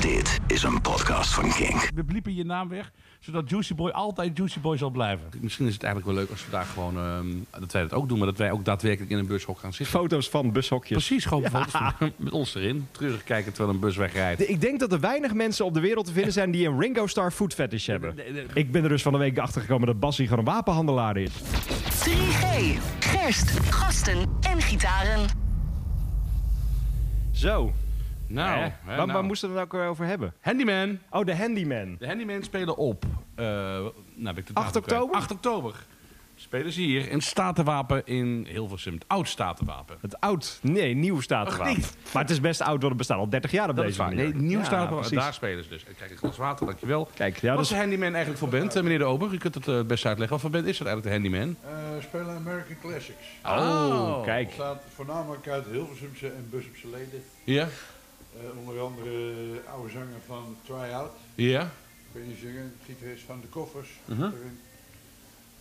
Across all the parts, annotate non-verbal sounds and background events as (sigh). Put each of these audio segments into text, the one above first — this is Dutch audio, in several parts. Dit is een podcast van Kink. We bliepen je naam weg, zodat Juicy Boy altijd Juicy Boy zal blijven. Misschien is het eigenlijk wel leuk als we daar gewoon, ehm, dat wij dat ook doen, maar dat wij ook daadwerkelijk in een bushok gaan zitten. Foto's van bushokjes. Precies, gewoon foto's van- (laughs) met ons erin. Treurig kijken terwijl een bus wegrijdt. De- Ik denk dat er weinig mensen op de wereld te vinden zijn die een Ringo Starr food fetish hebben. Nee, nee. Ik ben er dus van de week achter gekomen dat Bassie gewoon een wapenhandelaar is. 3G, gerst, gasten en gitaren. Zo. Nou, Hè? hè, waar, nou. waar moesten we het ook eh, over hebben? Handyman. Oh, de handyman. De Handyman spelen op. eh, nou ben ik de 8 datum kwijt. oktober? 8 oktober. Spelen ze hier in Statenwapen in Hilversum. Het oud Statenwapen. Het oud, nee, nieuw statenwapen. niet? Maar het is best oud, want het bestaat al 30 jaar op Dat is deze waar. manier. Nee, nieuw Ja, Statenwapen. precies. Daar spelen ze dus. Ik krijg een glas water, dankjewel. Kijk, ja, Wat dat is de Handyman eigenlijk voor band, eh, meneer De Ober? U kunt het eh, het best uitleggen. Wat voor band is dat eigenlijk, de Handyman? Eh, spelen American Classics. Oh, kijk. Bestaat voornamelijk uit Hilversumse en Bussumse leden. Ja? Eh, onder andere eh, oude zanger van Tryout. Ja? Ik weet niet of je kent, gitarist van de Koffers. Mhm. erin.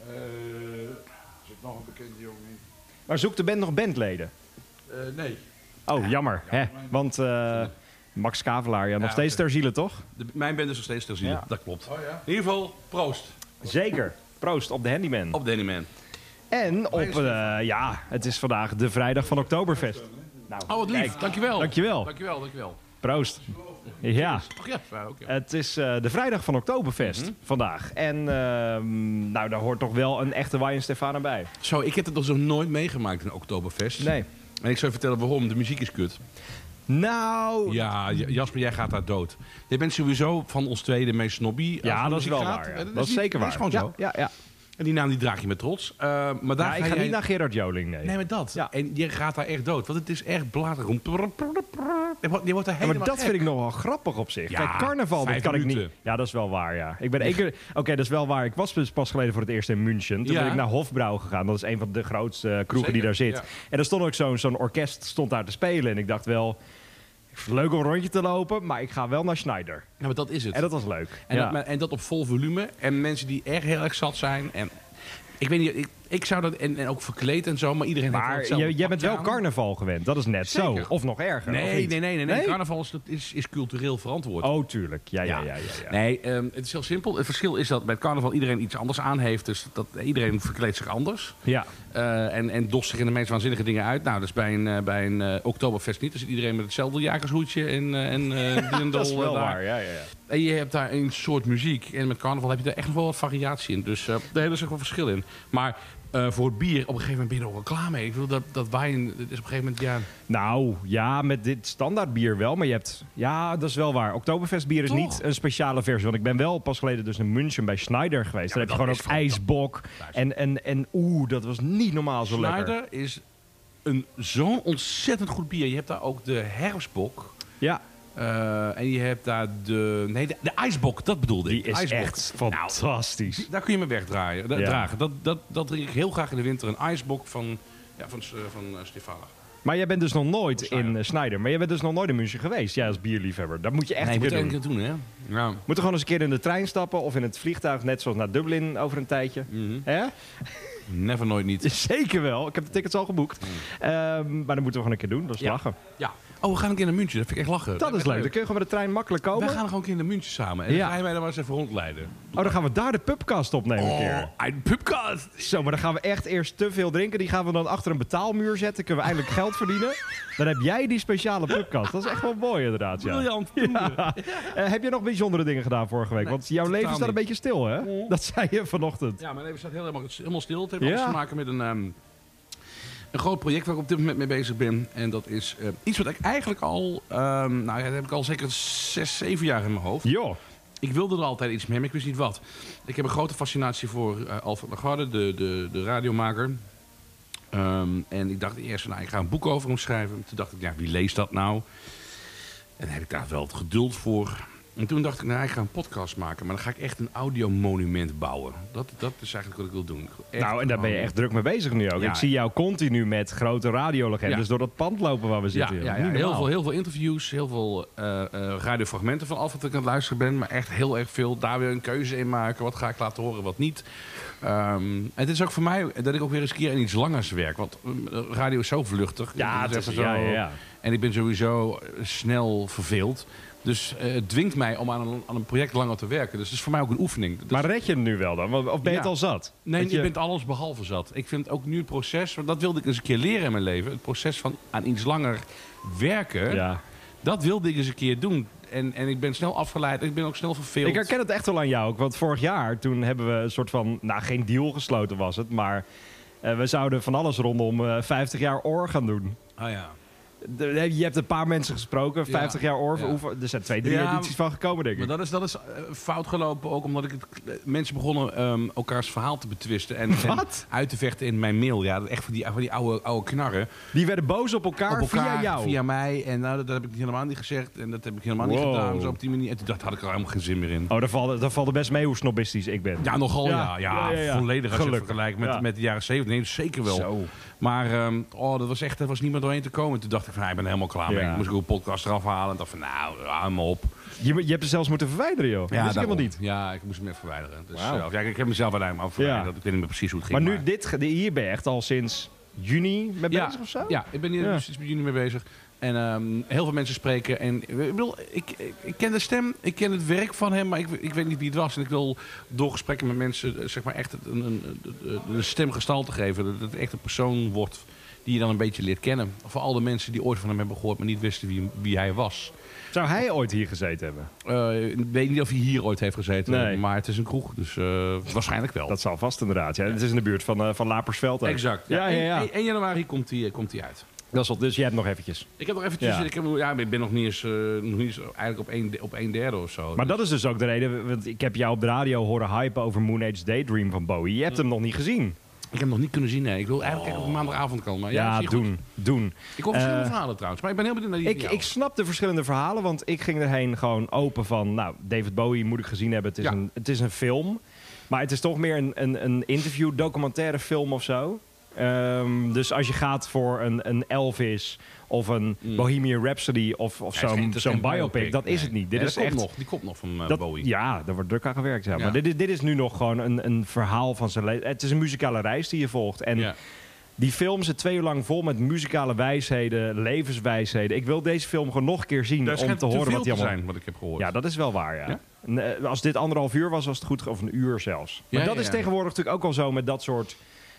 Eh, er zit nog een bekende jongen in. Maar zoekt de band nog bandleden? Eh, nee. Oh, jammer. Hè? Want eh, Max Kavelaar, ja, nog Ja, steeds oké. ter ziele, toch? De- mijn band is nog steeds ter ziele. Ja. Dat klopt. Oh ja. In ieder geval, proost Zeker. Proost op de handyman. op de Handyman. En op, eh, ja, het is vandaag de vrijdag van Oktoberfest. Nou, Oh, wat lief. Dankjewel. Dankjewel. Dankjewel, dankjewel. Proost. Ja, Ach ja, ja, ook, ja. het is eh, de vrijdag van Oktoberfest Mhm. vandaag. En ehm, nou, daar hoort toch wel een echte Wijn Stefana bij. Zo, ik heb het nog zo nooit meegemaakt in Oktoberfest. Nee. En ik zou je vertellen waarom. De muziek is kut. Nou, Ja, J- Jasper, jij gaat daar dood. Je bent sowieso van ons twee de meest snobby. eh, ja van de dat is wel muziekgraad. waar. ja. Eh, Dat, is niet- zeker waar. Dat is gewoon ja, ja, ja. zo. En die naam die draag je met trots. Eh, maar daar Ja, ik ga jij- niet naar Gerard Joling, nee. Nee, maar dat. Ja. En je gaat daar echt dood. Want het is echt bladerend. Je wordt, je wordt daar Ja, helemaal maar dat gek. vind ik nog wel grappig op zich. Ja, Kijk, carnaval, dat vijf kan ik niet. minuten. Ja, dat is wel waar, ja. Ik ben één keer... Oké, dat is wel waar. Ik was dus pas geleden voor het eerst in München. Toen Ja. ben ik naar Hofbrouw gegaan. Dat is een van de grootste eh, kroegen die Zeker, daar zit. ja. En daar stond ook zo'n zo'n orkest stond daar te spelen. En ik dacht wel... ik vind het Leuk om een rondje te lopen, maar ik ga wel naar Schneider. Ja, maar dat is het. En dat was leuk. En, ja. dat, maar- en dat op vol volume. En mensen die echt heel erg zat zijn. En ik weet niet, ik, ik zou dat. En, en ook verkleed en zo, maar iedereen heeft wel maar hetzelfde jij, jij bent pakje wel aan. carnaval gewend. Dat is net Zeker. zo. Of nog erger. of Nee, niet? nee, nee, nee, nee. Nee? Carnaval is, is, is cultureel verantwoord. Oh, tuurlijk. Ja, ja, ja. ja, ja. Nee, ehm, het is heel simpel. Het verschil is dat bij het carnaval iedereen iets anders aan heeft. Dus dat iedereen verkleedt zich anders. ja. Eh, en, en dost zich in de meest waanzinnige dingen uit. Nou, dat is bij een, eh, bij een eh, Oktoberfest niet. Dan zit iedereen met hetzelfde jagershoedje en, eh, en eh (laughs) Dat is dirndl, wel eh, daar. waar. Ja, ja, ja. En je hebt daar een soort muziek. En met carnaval heb je daar echt nog wel wat variatie in. Dus eh daar is echt wel verschil in. Maar eh, voor het bier, op een gegeven moment ben je er ook wel klaar mee. Ik bedoel, dat, dat wijn, dat is op een gegeven moment, ja... Nou, ja, met dit standaard bier wel. Maar je hebt... Ja, dat is wel waar. Oktoberfest bier is Toch? niet een speciale versie. Want ik ben wel pas geleden dus in München bij Schneider geweest. Ja, Daar heb je maar gewoon ook dat is ijsbok. En, en, en oeh, dat was niet normaal zo lekker. Schneider is een zo'n ontzettend goed bier. Je hebt daar ook de herfstbok. Ja, eh, en je hebt daar de... Nee, de, de ijsbok, dat bedoelde die ik. is Ijsbok. echt fantastisch. Nou, daar kun je me wegdraaien. da- Ja. dragen. Dat, dat, dat drink ik heel graag in de winter. Een ijsbok van, ja, van, S- van eh, Stefana. maar jij bent dus nog nooit in Schneider. eh, Schneider. Maar jij bent dus nog nooit in München geweest. Ja, als bierliefhebber. Dat moet je echt nee, een je moet er keer een doen. keer doen, hè? Ja. Moeten gewoon eens een keer in de trein stappen of in het vliegtuig. Net zoals naar Dublin over een tijdje. Hè? Mhm. Never nooit niet. (laughs) Zeker wel. Ik heb de tickets al geboekt. Ehm, maar dat moeten we gewoon een keer doen. Dat is Mm. Ja. lachen. Ja. Oh, we gaan een keer naar München. Dat vind ik echt lachen. Dat is leuk. Dan kun je gewoon met de trein makkelijk We komen. gaan gewoon een keer naar München samen. En Ja. dan ga je mij dan maar eens even rondleiden. Oh, dan gaan we daar de pubcast opnemen een keer. een pubcast! Zo, maar dan gaan we echt eerst te veel drinken. Die gaan we dan achter een betaalmuur zetten. Kunnen we eindelijk geld (laughs) verdienen. Dan heb jij die speciale pubcast. Dat is echt wel mooi inderdaad, ja. Briljant. Ja. Eh, heb je nog bijzondere dingen gedaan vorige week? Want jouw leven totaal staat een niet. beetje stil, hè? Dat zei je vanochtend. ja, mijn leven staat helemaal, helemaal stil. Het heeft alles Ja. te maken met een, ehm, een groot project waar ik op dit moment mee bezig ben. En dat is eh, iets wat ik eigenlijk al... ehm, nou ja, dat heb ik al zeker zes, zeven jaar in mijn hoofd. Joh. Ik wilde er altijd iets mee, maar ik wist niet wat. Ik heb een grote fascinatie voor eh, Alfred Lagarde, de, de, de radiomaker. Ehm, en ik dacht eerst, nou, ik ga een boek over hem schrijven. Toen dacht ik, ja, wie leest dat nou? En dan heb ik daar wel het geduld voor. En toen dacht ik, nou, ik ga een podcast maken. Maar dan ga ik echt een audiomonument bouwen. Dat, dat is eigenlijk wat ik wil doen. Ik wil echt Nou, en daar ben je gewoon- echt druk mee bezig nu ook. Ja. Ik zie jou continu met grote radiolegendes Ja. door dat pand lopen waar we Ja, zitten. ja, joh. ja, Niet Heel, normaal. veel, heel veel interviews, heel veel eh, eh, radiofragmenten van af wat ik aan het luisteren ben. Maar echt heel erg veel. Daar weer een keuze in maken. Wat ga ik laten horen, wat niet. Ehm, en het is ook voor mij dat ik ook weer eens een keer in iets langers werk. Want eh, ehm, radio is zo vluchtig. Het Ja, het is is, even zo- ja, ja, ja. En ik ben sowieso eh, snel verveeld. Dus eh, het dwingt mij om aan een, aan een project langer te werken. Dus het is voor mij ook een oefening. Dat- Maar red je hem nu wel dan? Want- Of ben Ja. je het al zat? Nee, Dat je... je- bent alles behalve zat. Ik vind ook nu het proces, want dat wilde ik eens een keer leren in mijn leven. Het proces van aan iets langer werken, Ja. dat wilde ik eens een keer doen. En, en ik ben snel afgeleid, ik ben ook snel verveeld. Ik herken het echt wel aan jou ook. Want vorig jaar, toen hebben we een soort van... Nou, geen deal gesloten was het, maar... eh, we zouden van alles rondom eh, 50 jaar oor gaan doen. Ah ja. De- eh, je hebt een paar mensen gesproken, 50 jaar oor. ja. oefen- Er zijn twee, drie Ja, edities van gekomen, denk ik. Maar dat is, dat is eh, fout gelopen ook omdat ik het, eh, mensen begonnen ehm, elkaars verhaal te betwisten. En, en Wat? uit te vechten in mijn mail. Ja, echt van die, van die oude, oude knarren. Die werden boos op elkaar, op elkaar, via jou. mij. En nou, dat, dat heb ik helemaal niet gezegd. En dat heb ik helemaal niet Wow. gedaan. Dus op die manier. En toen dacht- had ik er helemaal geen zin meer in. Oh, daar valt, daar valt het best mee hoe snobistisch ik ben. Ja, nogal ja. Ja. Ja, Ja, ja, ja. volledig als je het Gelukkig. vergelijkt met, Ja. met de jaren 70. Nee, zeker wel. Zo. Maar ehm, oh, dat was echt, daar was niet meer doorheen te komen. Toen dacht ik van, ik ben er helemaal klaar mee. Ja. Ik moest ook een podcast eraf halen. En dacht van, nou, hou me op. Je, je hebt ze zelfs moeten verwijderen, joh. dat is daarom. helemaal niet. Ja, ik moest hem even verwijderen. Dus, Wauw. eh, of ja, ik heb mezelf uiteindelijk maar verwijderd. Ja. Ik weet niet meer precies hoe het Maar ging. nu, dit, ge- hier ben je echt al sinds juni mee ja, bezig of zo? Ja, ik ben hier Ja. nu sinds bij jullie mee bezig. En ehm, heel veel mensen spreken. En ik, wil, ik, ik, ik ken de stem, ik ken het werk van hem, maar ik, ik weet niet wie het was. En ik wil door gesprekken met mensen eh, zeg maar echt een, een, een, een stem gestalte geven. Dat het echt een persoon wordt die je dan een beetje leert kennen. Voor al de mensen die ooit van hem hebben gehoord, maar niet wisten wie, wie hij was. Zou hij ooit hier gezeten hebben? Eh, ik weet niet of hij hier ooit heeft gezeten, Nee. maar het is een kroeg. Dus eh, waarschijnlijk wel. Dat zal vast inderdaad. Ja. Het is in de buurt van, eh, van Lapersveld. ook. Exact. Ja, ja, ja. 1, januari komt hij eh, komt die uit. Dat is wel, dus jij hebt nog eventjes. Ik heb nog eventjes, Ja. ik, heb, ja, ik ben nog niet eens, eh, nog niet eens eigenlijk op een, de- op een derde of zo. Maar dat is dus ook de reden, want ik heb jou op de radio horen hypen over Moon Age Daydream van Bowie. Je hebt hem nog niet gezien. Ik heb hem nog niet kunnen zien, nee. Ik wil eigenlijk kijken of ik maandagavond kan. Maar ja, Ja, zie je goed. nou. doen, doen. Ik hoor verschillende Eh, verhalen trouwens, maar ik ben heel benieuwd naar die Ik, van ik jou. snap de verschillende verhalen, want ik ging erheen gewoon open van... Nou, David Bowie moet ik gezien hebben. Het is, Ja. een, het is een film. Maar het is toch meer een, een, een interview, documentaire film of zo. Ehm, dus als je gaat voor een, een Elvis of een Bohemian Rhapsody of, Ja, of het Hmm. is geen- zo'n het is zo'n geen biopic, dat is nee. het niet. Dit Nee, is dat echt... komt nog, die komt nog van eh, Dat, Bowie. Ja, daar wordt druk aan gewerkt. Ja. Ja. Maar dit, is- dit is nu nog gewoon een, een verhaal van zijn leven. Het is een muzikale reis die je volgt. En Ja. die film zit twee uur lang vol met muzikale wijsheden, levenswijsheden. Ik wil deze film gewoon nog een keer zien Daar om schijnt te horen veel wat hij te allemaal... zijn, wat ik heb gehoord. Ja, dat is wel waar, ja. Ja? En, eh, Als dit anderhalf uur was, was het goed, ge- of een uur zelfs. Maar Ja, dat ja, is ja. tegenwoordig natuurlijk ook al zo met dat soort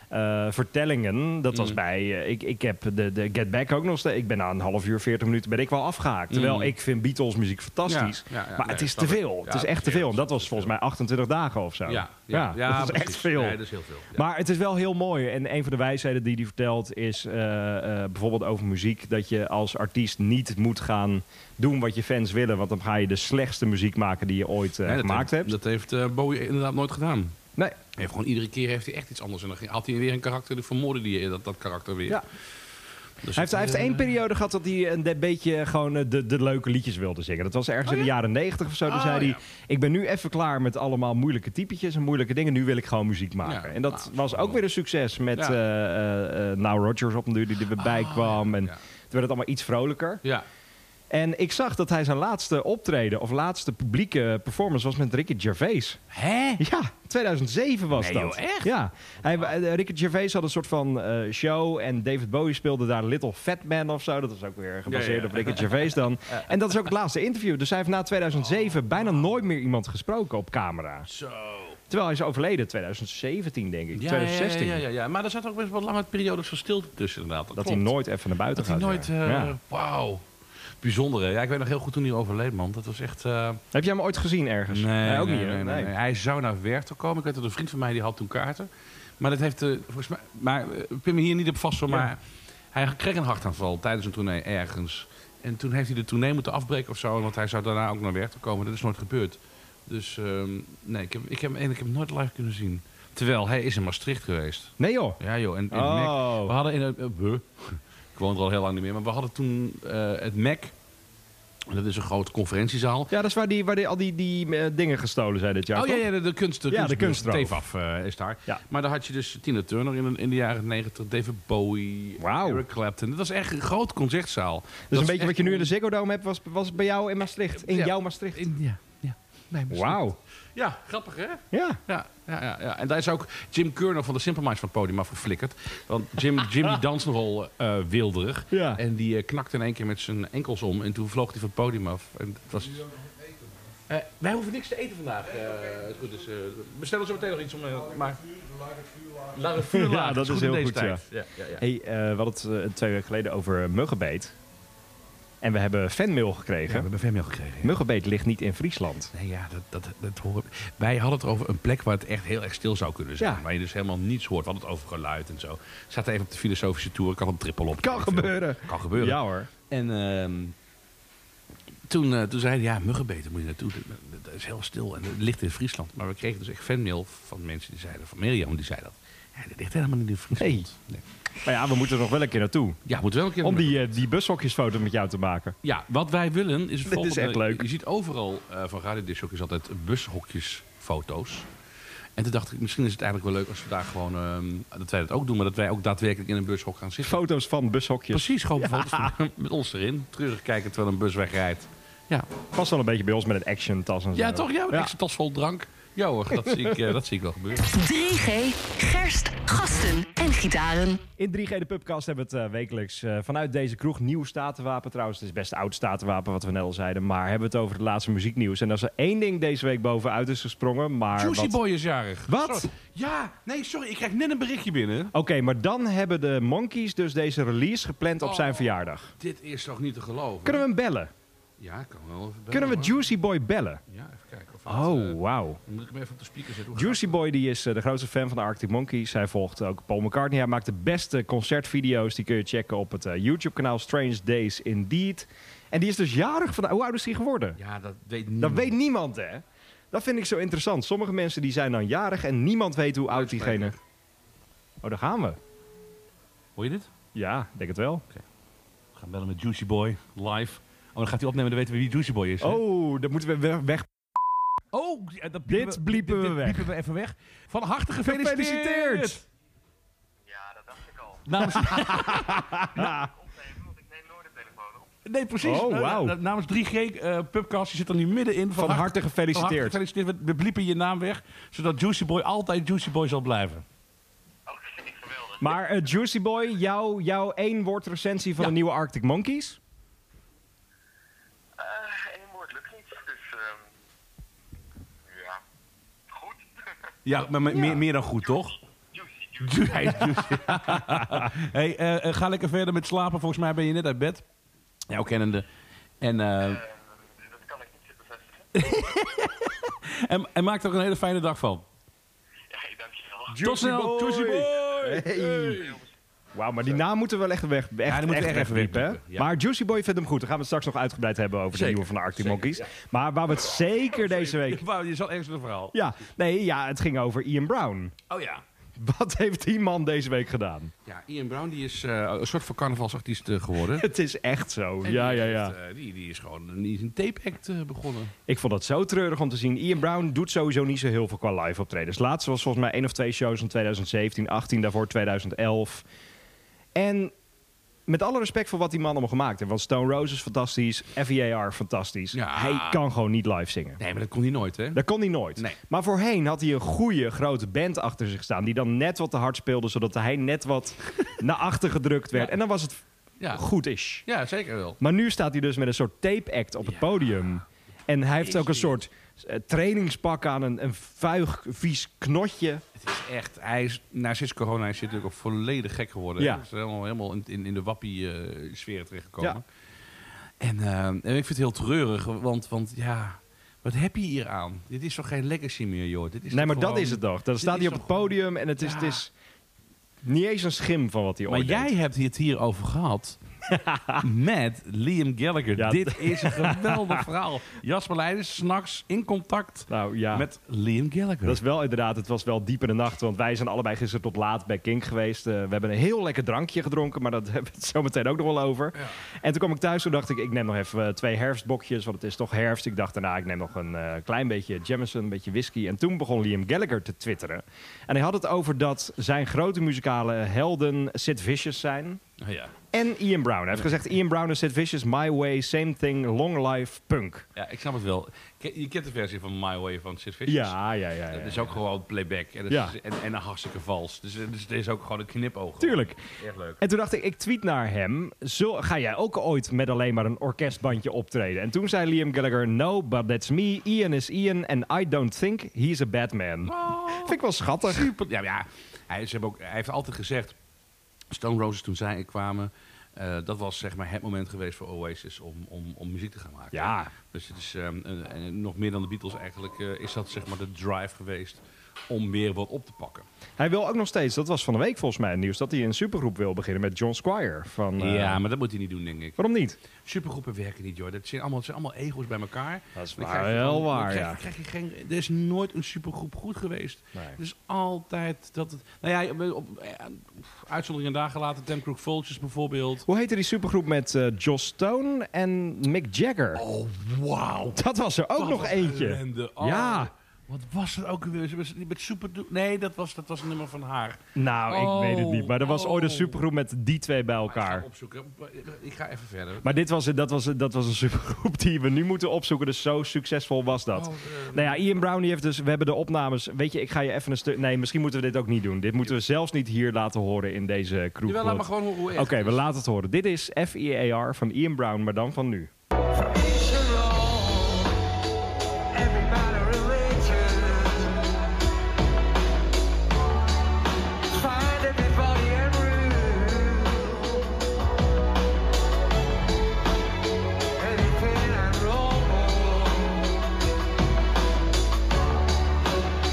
eh, vertellingen. Dat Mm. was bij, eh, ik, ik heb de, de Get Back ook nog steeds. Ik ben na een half uur, veertig minuten, ben ik wel afgehaakt. Terwijl Mm. ik vind Beatles muziek fantastisch. Ja, ja, ja, maar nee, het is snap te ik. veel. Ja, het is echt te ja, veel. En dat dat is was volgens mij 28 dagen of zo. ja, ja, ja, dat is echt precies. veel. Nee, dus- dat is heel veel. ja. Maar het is wel heel mooi. En een van de wijsheden die hij vertelt is eh, eh, bijvoorbeeld over muziek. Dat je als artiest niet moet gaan doen wat je fans willen. Want dan ga je de slechtste muziek maken die je ooit eh, Nee, dat gemaakt heeft- hebt. Dat heeft eh, Bowie inderdaad nooit gedaan. Nee. Hij Heeft gewoon iedere keer heeft hij echt iets anders. En dan ging- had hij weer een karakter, dan vermoordde hij dat, dat karakter weer. Ja. Dus Hij heeft, hij heeft één periode gehad dat hij een de- beetje gewoon eh, de, de leuke liedjes wilde zingen. Dat was ergens in de jaren negentig of zo. Toen Oh, zei hij, ja. ik ben nu even klaar met allemaal moeilijke typetjes en moeilijke dingen. Nu wil ik gewoon muziek maken. Ja, en dat nou, dat is was wel- ook weer een succes met Ja. Ah, eh, eh, eh, Now Rogers op een duur die er weer bij kwam. En ja. toen werd het allemaal iets vrolijker. Ja. En ik zag dat hij zijn laatste optreden of laatste publieke performance was met Ricky Gervais. Hè? Ja, 2007 was Nee, dat. joh, echt? Ja. Hij, eh, Ricky Gervais had een soort van eh, show en David Bowie speelde daar Little Fat Man of zo. Dat is ook weer gebaseerd Ja, ja. op Ricky Gervais (laughs) dan. En dat is ook het laatste interview. Dus hij heeft na Oh. 2007 bijna nooit meer iemand gesproken op camera. Zo. Terwijl hij is overleden 2017 denk ik, 2016. Ja, ja, ja, ja. maar er zat ook best wel lange periodes van stilte tussen inderdaad. Dat, Dat klopt. hij nooit even naar buiten Dat hij gaat. nooit... ja. eh, Ja. Wauw. Bijzonder, hè? Ja, ik weet nog heel goed toen hij overleed, man. Dat was echt... eh, Heb jij hem ooit gezien ergens? Eh, ook niet. hè? nee, Nee. nee, nee. Hij zou naar Werchter komen. Ik weet dat een vriend van mij die had toen kaarten. Maar dat heeft... eh, volgens mij... Maar eh, ik pin me hier niet op vast, hoor, Ja. maar... Hij kreeg een hartaanval tijdens een tournee ergens. En toen heeft hij de tournee moeten afbreken of zo. Want hij zou daarna ook naar Werchter komen. Dat is nooit gebeurd. Dus ehm, nee, ik heb, ik, heb, en ik heb hem nooit live kunnen zien. Terwijl hij is in Maastricht geweest. Nee joh. Ja joh, en in het Oh. Mac. We hadden in het... eh, we. (laughs) ik woon er al heel lang niet meer, maar we hadden toen eh, het Mac. Dat is een grote conferentiezaal. Ja, dat is waar, die, waar die, al die, die eh, dingen gestolen zijn dit jaar. oh ja, toch? ja, de, de kunst, de Ja, de kunstbeurs, kunstroof. TVAF eh, is daar. Ja. Maar daar had je dus Tina Turner in, in de jaren 90, David Bowie, Wauw. Eric Clapton. Dat was echt een groot concertzaal. Dus een beetje wat je nu in de Ziggo Dome hebt, was, was bij jou in Maastricht. In Ja. jouw Maastricht. In, ja, ja. Nee, maar Wauw. Ja, grappig hè? Ja. Ja, ja, ja, ja. En daar is ook Jim Curnow van de Simple Minds van het podium afgeflikkerd. Want Jim, Jim die danst nogal eh, wilderig. Ja. En die eh, knakte in één keer met zijn enkels om. En toen vloog hij van het podium af. En het was... Eh, wij hoeven niks te eten vandaag. eh, het goed is, eh, bestel ons zo meteen nog iets om. eh, maar... Laat het vuur Ja, laten. dat Het is in heel deze goed, ja. tijd. Ja, ja, ja. Hey, eh, we hadden het eh, twee weken geleden over muggenbeet. En we hebben fanmail Ja, gekregen. we hebben fanmail gekregen. ja. Muggenbeet ligt niet in Friesland. Nee, ja, dat, dat, dat horen Wij hadden het over een plek waar het echt heel erg stil zou kunnen zijn. Ja. Waar je dus helemaal niets hoort. We hadden het over geluid en zo. Ik zat even op de filosofische tour. Ik had een trippel op. Kan gebeuren. Kan gebeuren. Ja hoor. En ehm, toen, eh, toen zei hij, ja, muggenbeten moet je naartoe. Dat, dat- dat is heel stil en het ligt in Friesland. Maar we kregen dus echt fanmail van mensen die zeiden, van Mirjam, die zei dat. Ja, dat ligt helemaal niet in Friesland. Nee. Maar ja, we moeten er nog wel een keer naartoe. Ja, moet wel een keer... Om die, eh, die bushokjesfoto met jou te maken. Ja, wat wij (laughs) willen is het Dit is volgende. echt leuk. Je ziet overal eh van Radio Discjockeys altijd bushokjesfoto's. En toen dacht ik, misschien is het eigenlijk wel leuk als we daar gewoon... ehm, dat wij dat ook doen, maar dat wij ook daadwerkelijk in een bushok gaan zitten. Foto's van bushokjes. Precies, gewoon foto's van- (laughs) met ons erin. Treurig kijken terwijl een bus wegrijdt. Ja, Past wel een beetje bij ons met een action tas en zo. ja toch? Ja, met een extra tas vol drank. Ja hoor, dat zie ik, eh, dat zie ik wel gebeuren. 3G, gerst, gasten en gitaren. In 3G de Pubcast hebben we het eh, wekelijks eh, vanuit deze kroeg. Nieuw statenwapen trouwens. Het is best oud statenwapen wat we net al zeiden. Maar hebben we het over het laatste muzieknieuws. En als er één ding deze week bovenuit is gesprongen. Maar (laughs) Juicy wat- Boy is jarig. Wat? Sorry. Ja, nee, sorry, ik krijg net een berichtje binnen. Oké, maar dan hebben de Monkeys dus deze release gepland op zijn Oh. verjaardag. Dit is toch niet te geloven? Kunnen we hem bellen? Ja, ik kan wel even bellen, Kunnen we hoor. Juicy Boy bellen? Ja, even kijken of het, eh, Oh, wauw. Moet ik hem even op de speaker zetten? Hoe Juicy Boy die is eh, de grootste fan van de Arctic Monkeys. Hij volgt ook Paul McCartney. Hij maakt de beste concertvideo's. Die kun je checken op het eh, YouTube-kanaal Strange Days Indeed. En die is dus jarig vandaag. Hoe oud is hij geworden? gaat- Ja, dat weet niet. Dat weet niemand, hè? Dat vind ik zo interessant. Sommige mensen die zijn dan jarig en niemand weet hoe oud diegene... Oh, daar gaan we. Hoor je dit? Ja, ik denk het wel. We gaan bellen met Juicy Boy live. Oh, dan gaat hij opnemen, dan weten we wie Juicy Boy is. hè? Oh, dat moeten we we- weg. oh ja, dat Dit bliepen we dit- dit weg. bliepen we even weg. Van harte gefeliciteerd! Gefeliciteerd! Ja, dat dacht ik al. Namens, (laughs) Opnemen, want ik neem nooit de telefoon op. (laughs) nee, precies. Oh, Nou, wauw. na- Namens 3G eh Pubcast, je zit er nu middenin. Van harte van harte gefeliciteerd. gefeliciteerd. We, we bliepen je naam weg, zodat Juicy Boy altijd Juicy Boy zal blijven. Oké, geweldig. Maar eh, Juicy Boy, jouw jouw één woord recensie van Ja. de nieuwe Arctic Monkeys? Eh, één woord lukt niet, dus ehm ja, goed. Ja, maar me- Meer, meer dan goed, toch? Juicy, juicy. Ju- (laughs) Hij is juicy. (laughs) hey, eh, eh, ga lekker verder met slapen. Volgens mij ben je net uit bed. Jouw kennende. En, eh, Ehm, dat kan ik niet bevestigen. En, en maak er een hele fijne dag van. Ja, dankjewel. Tot snel, Juicy Boy! (laughs) Wauw, maar die naam moeten we wel echt weg. Echt, die moeten we echt even wegpiepen, hè? wegpiepen, ja. Maar Juicy Boy vindt hem goed. Daar gaan we het straks nog uitgebreid hebben over Zeker, de nieuwe van de Arctic zeker, Monkeys. Maar waar we het zeker deze week. Wauw, je zal ergens een verhaal. Ja, nee, ja, het ging over Ian Brown. Oh ja. (laughs) Wat heeft die man deze week gedaan? (laughs) Ja, Ian Brown die is eh, een soort van carnavalsartiest eh, (laughs) geworden. Het is echt zo. En Ja, die ja, heeft, ja. eh, die, die is gewoon die is een tape-act eh, begonnen. Ik vond dat zo treurig om te zien. Ian Brown doet sowieso niet zo heel veel qua live optredens. Laatst was volgens mij één of twee shows in 2017, 18, daarvoor 2011. En met alle respect voor wat die man allemaal gemaakt heeft. Want Stone Roses fantastisch, FEAR fantastisch. Ja. Hij kan gewoon niet live zingen. Nee, maar dat kon hij nooit, hè? Dat kon hij nooit. Nee. Maar voorheen had hij een goede grote band achter zich staan. Die dan net wat te hard speelde, zodat hij net wat (laughs) naar achter gedrukt werd. Ja. En dan was het Ja, goed is. ja zeker wel. Maar nu staat hij dus met een soort tape-act op het Ja. podium. En hij heeft ook een soort eh, trainingspak aan, een, een vuig, vies knotje. Het is echt, hij is, na sinds corona is hij natuurlijk ook volledig gek geworden. Ja. Hij is helemaal, helemaal in, in, in de wappie-sfeer terechtgekomen. Ja. En, eh, en ik vind het heel treurig, want, want ja, wat heb je hier aan? Dit is toch geen legacy meer, joh? Dit is nee, toch maar dat gewoon- is het toch. Dan dit staat is hij op het toch gewoon- podium en het is, Ja. het is niet eens een schim van wat hij Maar ooit jij deed. hebt het hier over (laughs) gehad met Liam Gallagher. Ja, Dit is (laughs) een geweldig verhaal. Jasper Leijers, s'nachts in contact Nou ja, met Liam Gallagher. dat is wel inderdaad, het was wel diep in de nacht. Want wij zijn allebei gisteren tot laat bij Kink geweest. Eh, we hebben een heel lekker drankje gedronken, maar dat (laughs) hebben we het zo meteen ook nog wel over. En toen kwam ik thuis en dacht ik, ik neem nog even eh, twee herfstbokjes, want het is toch herfst. Ik dacht daarna, ik neem nog een eh, klein beetje Jameson, een beetje whisky. En toen begon Liam Gallagher te twitteren. En hij had het over dat zijn grote muzikale helden Sid Vicious zijn. Ah, ja. En Ian Brown. Hij heeft gezegd, Ian Brown en Sid Vicious, My Way, Same Thing, Long Life, Punk. ja, ik snap het wel. Ke- Je kent de versie van My Way van Sid Vicious. Ja, ja, ja. ja. Dat is ook gewoon playback en, dat Ja. is, en, en een hartstikke vals. Dus, dus het is ook gewoon een knipoog. Tuurlijk. Echt leuk. En toen dacht ik, ik tweet naar hem. Zul, ga jij ook ooit met alleen maar een orkestbandje optreden? En toen zei Liam Gallagher, no, but that's me. Ian is Ian and I don't think he's a bad man. Vind ik wel schattig. Oh. Super. Ja, maar ja hij, ze hebben ook, hij heeft altijd gezegd, Stone Roses toen zij kwamen, eh, dat was zeg maar het moment geweest voor Oasis om, om, om muziek te gaan maken. Ja. Dus het is, ehm, een- en nog meer dan de Beatles eigenlijk, eh, is dat zeg maar de drive geweest om weer wat op te pakken. Hij wil ook nog steeds, dat was van de week volgens mij het nieuws, dat hij een supergroep wil beginnen met John Squire. Van, eh, ja, maar dat moet hij niet doen, denk ik. Waarom niet? Supergroepen werken niet, joh. Dat zijn allemaal, het zijn allemaal ego's bij elkaar. Dat is Dan waar, krijg je wel gewoon- dan waar, krijg- ja. krijg je geen, er is nooit een supergroep goed geweest. Nee. Het is altijd dat het... Nou ja, op, op, eh, uitzonderingen daar gelaten. Tim Crook Vultures bijvoorbeeld. Hoe heette die supergroep met eh Joss Stone en Mick Jagger? Oh, wauw. Dat was er ook Dat nog was eentje. ellende. Oh, Ja. Wat was er ook weer? Ze was niet met super... Nee, dat was, dat was een nummer van haar. Nou, Oh, ik weet het niet. Maar er was ooit een oh. supergroep met die twee bij Ik elkaar. ga opzoeken. Ik ga even verder. Maar dit was, dat, was, dat was een supergroep die we nu moeten opzoeken. Dus zo succesvol was dat. Oh, eh, Nou ja, Ian Brown die heeft dus... We hebben de opnames... Weet je, ik ga je even een stuk... Nee, misschien moeten we dit ook niet doen. Dit moeten we zelfs niet hier laten horen in deze crew. Jawel, laat maar gewoon hoe Oké, we laten het horen. Dit is FEAR van Ian Brown, maar dan van nu.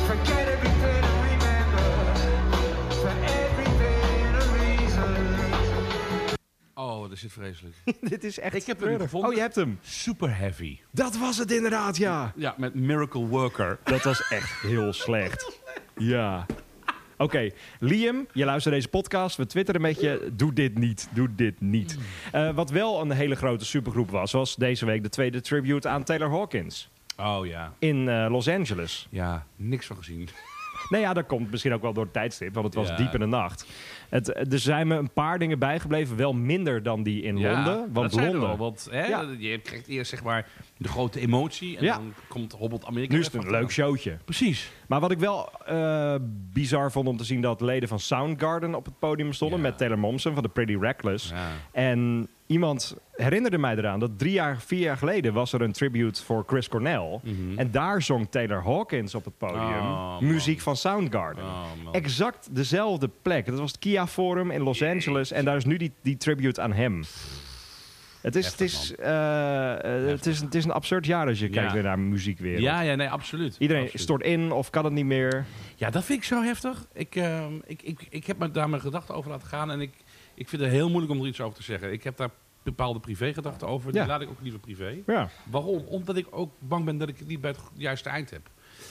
Forget everything and remember For everything a reason Oh, dat zit vreselijk. (laughs) dit is echt... Ik heb hem treurig. gevonden. Oh, je hebt hem. super heavy. Dat was het inderdaad, ja. Ja, met Miracle Worker. Dat was echt heel slecht. Ja. Oké, Liam, je luistert deze podcast. We twitteren met je. Doe dit niet. Doe dit niet. Eh, wat wel een hele grote supergroep was, was deze week de tweede tribute aan Taylor Hawkins. Oh ja. In eh, Los Angeles. Ja, niks van gezien. Nou ja, dat komt misschien ook wel door het tijdstip, want het was Ja. diep in de nacht. Het, eh, er zijn me een paar dingen bijgebleven, wel minder dan die in Londen. Want dat zeiden we Londen. al, want hè, Ja. je krijgt eerst zeg maar de grote emotie en Ja. dan komt hobbelt Amerika. nu is het even een leuk achteraan. showtje. Precies. Maar wat ik wel eh, bizar vond om te zien dat leden van Soundgarden op het podium stonden Ja. met Taylor Momsen van de Pretty Reckless. Ja. En iemand herinnerde mij eraan dat drie jaar, vier jaar geleden was er een tribute voor Chris Cornell. En daar zong Taylor Hawkins op het podium Mhm. Oh, man. muziek van Soundgarden. Oh, man. exact dezelfde plek. Dat was het Kia Forum in Los Angeles en daar is nu die, die tribute aan hem. Het is, het, Heftig, is, eh, eh, het, is, het is een absurd jaar als je kijkt weer naar de muziekwereld. Ja, ja, nee, absoluut. Iedereen Absoluut. stort in of kan het niet meer. Ja, dat vind ik zo heftig. Ik, ehm, ik, ik, ik heb me daar mijn gedachten over laten gaan en ik, ik vind het heel moeilijk om er iets over te zeggen. Ik heb daar bepaalde privégedachten over. Die Ja. laat ik ook liever privé. Ja, Waarom? Omdat ik ook bang ben dat ik het niet bij het go- juiste eind heb.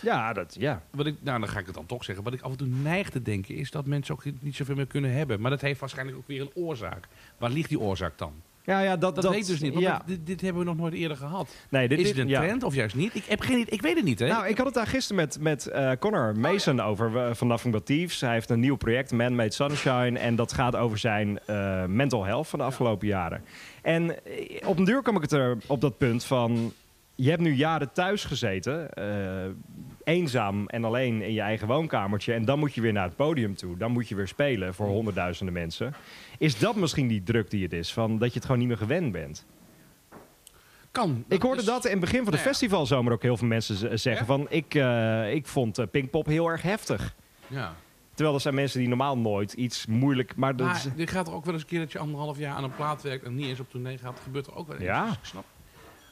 ja dat ja. Wat ik, nou, dan ga ik het dan toch zeggen. Wat ik af en toe neig te denken is dat mensen ook niet zoveel meer kunnen hebben. Maar dat heeft waarschijnlijk ook weer een oorzaak. Waar ligt die oorzaak dan? Ja, ja, dat, Dat, weet ik dus niet. Want Ja. dat- dit, dit hebben we nog nooit eerder gehad. Nee, dit is is- het een ja. trend of juist niet? Ik, heb geen, idee- ik weet het niet, hè? Nou, ik had het daar gisteren met, met eh, Connor Mason over eh, van Nothing But Thieves. Hij heeft een nieuw project, Man-Made Sunshine. En dat gaat over zijn eh, mental health van de afgelopen jaren. En eh, op een duur kwam ik het er op dat punt van... Je hebt nu jaren thuis gezeten, eh, eenzaam en alleen in je eigen woonkamertje. En dan moet je weer naar het podium toe. Dan moet je weer spelen voor honderdduizenden mensen. Is dat misschien die druk die het is? Van dat je het gewoon niet meer gewend bent? kan. Ik hoorde is- dat in het begin van de Nou ja. festivalzomer ook heel veel mensen z- zeggen van... ik, eh, ik vond eh, Pinkpop heel erg heftig. Ja. Terwijl er zijn mensen die normaal nooit iets moeilijk... Maar dat Maar is- dit gaat er ook wel eens een keer dat je anderhalf jaar aan een plaat werkt en niet eens op tournee gaat. gebeurt er ook wel eens. Ja. Dus ik snap.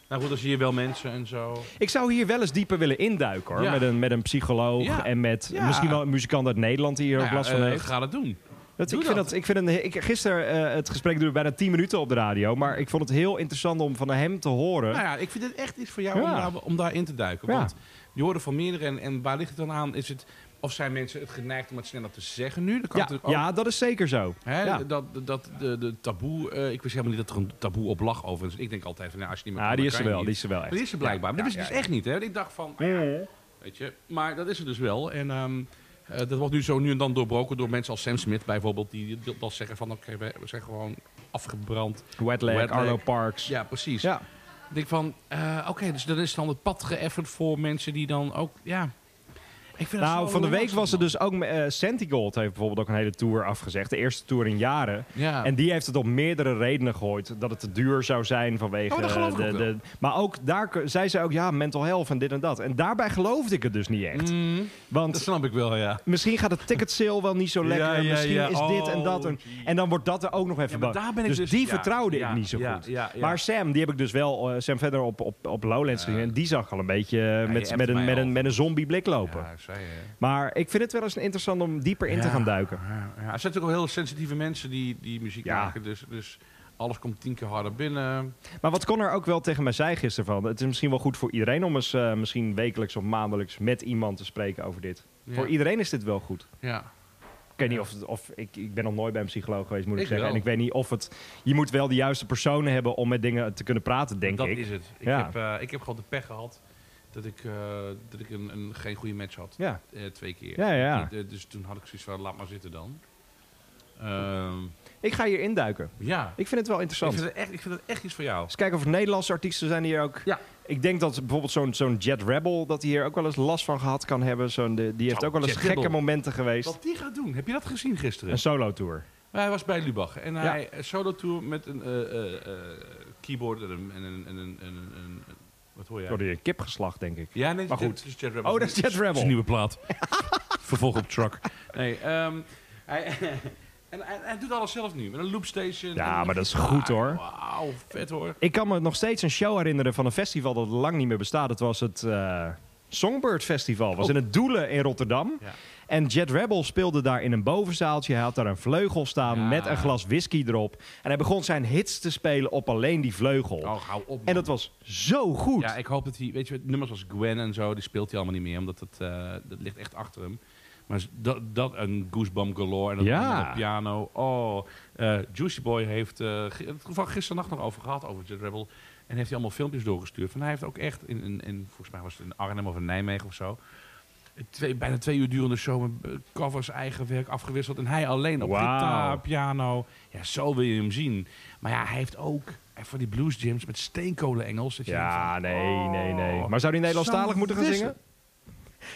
Nou goed, dan zie je wel mensen en zo. ik zou hier wel eens dieper willen induiken hoor. Ja. Met, een, met een psycholoog Ja. en met Ja. misschien wel een muzikant uit Nederland die hier Nou ook ja, last van eh, heeft. Ga dat doen. Dat, doe ik, vind dat. dat, ik, vind een, ik Gisteren, eh, het gesprek duurde bijna 10 minuten op de radio. Maar ik vond het heel interessant om van hem te horen. Nou ja, ik vind het echt iets voor jou om, Ja. daar, om daarin te duiken. Ja. Want je hoorde van meerdere en, en waar ligt het dan aan? Is het, of zijn mensen het geneigd om het sneller te zeggen nu? Dat kan ja, natuurlijk ook. ja, dat is zeker zo. Hè, ja. Dat, dat de, de taboe, eh, ik wist helemaal niet dat er een taboe op lag overigens. Ik denk altijd van, nou, als je niet meer Ah, kan, die dan is er kan je wel, die niet. is er wel Maar echt. die is er blijkbaar. Maar Ja, dat is ja, dus ja. echt niet, hè? Ik dacht van, ah, ja, weet je. Maar dat is er dus wel. En ehm, Eh, dat wordt nu zo nu en dan doorbroken door mensen als Sam Smith bijvoorbeeld. Die dat zeggen van, oké, we we zijn gewoon afgebrand. Wet leg, Wet leg. Arlo Parks. Ja, precies. Ja. Ik denk van, eh, oké, dus dat is dan het pad geëffend voor mensen die dan ook, ja. Ik vind Nou, van de week was er dus ook... eh Sentigold heeft bijvoorbeeld ook een hele tour afgezegd. De eerste tour in jaren. Ja. En die heeft het op meerdere redenen gegooid. Dat het te duur zou zijn vanwege... Oh, dat geloof ik de, ook wel. de, maar ook daar k- zei ze ook, ja, mental health en dit en dat. En daarbij geloofde ik het dus niet echt. Mm. Dat Want snap ik wel, ja. misschien gaat het ticket sale wel niet zo lekker. Ja, ja, misschien ja. is dit en dat. En, Oh, jee. en dan wordt dat er ook nog even Ja, maar bang. daar ben ik dus, dus- die ja, vertrouwde ja, ik niet zo ja, goed. ja, ja. Maar Sam, die heb ik dus wel... eh, Sam verder op, op, op Lowlands gezien. En die zag al een beetje eh, met, appte met, een, mij met, al. een, met een zombie blik lopen. Ja, zij, eh, Maar ik vind het wel eens interessant om dieper in te Ja. gaan duiken. Ja, ja. Er zijn natuurlijk wel heel sensitieve mensen die, die muziek Ja. maken. Dus, dus alles komt tien keer harder binnen. Maar wat Connor ook wel tegen mij zei gisteren van... het is misschien wel goed voor iedereen om eens eh, misschien wekelijks of maandelijks... met iemand te spreken over dit. Ja. Voor iedereen is dit wel goed. Ja. Ik weet niet of... het- of ik, ik ben nog nooit bij een psycholoog geweest, moet ik, Ik zeggen. wel. En ik weet niet of het... Je moet wel de juiste personen hebben om met dingen te kunnen praten, denk dat ik. is het. Ik, Ja. heb, eh, ik heb gewoon de pech gehad dat ik, eh, dat ik een, een, geen goede match had. Ja. Eh, twee keer. Ja, ja. Eh, dus toen had ik zoiets van, laat maar zitten dan. Ehm, Ik ga hier induiken. ja. Ik vind het wel Ik interessant. vind, het echt, ik vind het echt iets voor jou. Eens kijken of er Nederlandse artiesten zijn hier ook. Ja. Ik denk dat bijvoorbeeld zo'n zo'n Jet Rebel... dat hij hier ook wel eens last van gehad kan hebben. Zo'n de, die heeft Zou ook wel eens Jet gekke Rebel- momenten geweest. Wat die gaat doen, heb je dat gezien gisteren? Een solo-tour. Hij was bij Lubach en hij een solo tour met een eh, eh, eh, keyboard en een, en een, en een, en een, en een- Wat hoor jij? Door de kipgeslacht, denk ik. Ja, nee, Maar dit goed. is Jet Rebel. Oh, dat is Jet Dat is Rebel. een nieuwe (laughs) plaat. Vervolg op truck. Nee, ehm, hij, (laughs) en, hij- hij doet alles zelf nu. Met een loopstation. Ja, en een maar dat is gitaar. goed, hoor. Wauw, vet hoor. Ik kan me nog steeds een show herinneren van een festival dat lang niet meer bestaat. Dat was het eh, Songbird Festival. was in het Doelen in Rotterdam. Oh. Ja. En Jet Rebel speelde daar in een bovenzaaltje. Hij had daar een vleugel staan Ja. met een glas whisky erop. En hij begon zijn hits te spelen op alleen die vleugel. Oh, hou op. en man. dat was zo goed. Ja, ik hoop dat hij... Weet je, nummers als Gwen en zo, die speelt hij allemaal niet meer. Omdat dat, eh, dat ligt echt achter hem. Maar dat, dat een Goosebump Galore en een Ja. andere piano. Oh, eh, Juicy Boy heeft... eh g- het toevallig gisternacht nog over gehad, over Jet Rebel. En heeft hij allemaal filmpjes doorgestuurd. Van hij heeft ook echt, in, in, in, volgens mij was het in Arnhem of in Nijmegen of zo... een Twee, bijna twee uur durende show met eh, covers, eigen werk afgewisseld. En hij alleen op Wauw. gitaar, piano. Ja, zo wil je hem zien. Maar ja, hij heeft ook eh, van die blues jams met steenkolen Engels. dat je denkt van, Ja, nee, nee, nee. Oh. Maar zou die Nederlandstalig Zo'n moeten gaan wissel. zingen?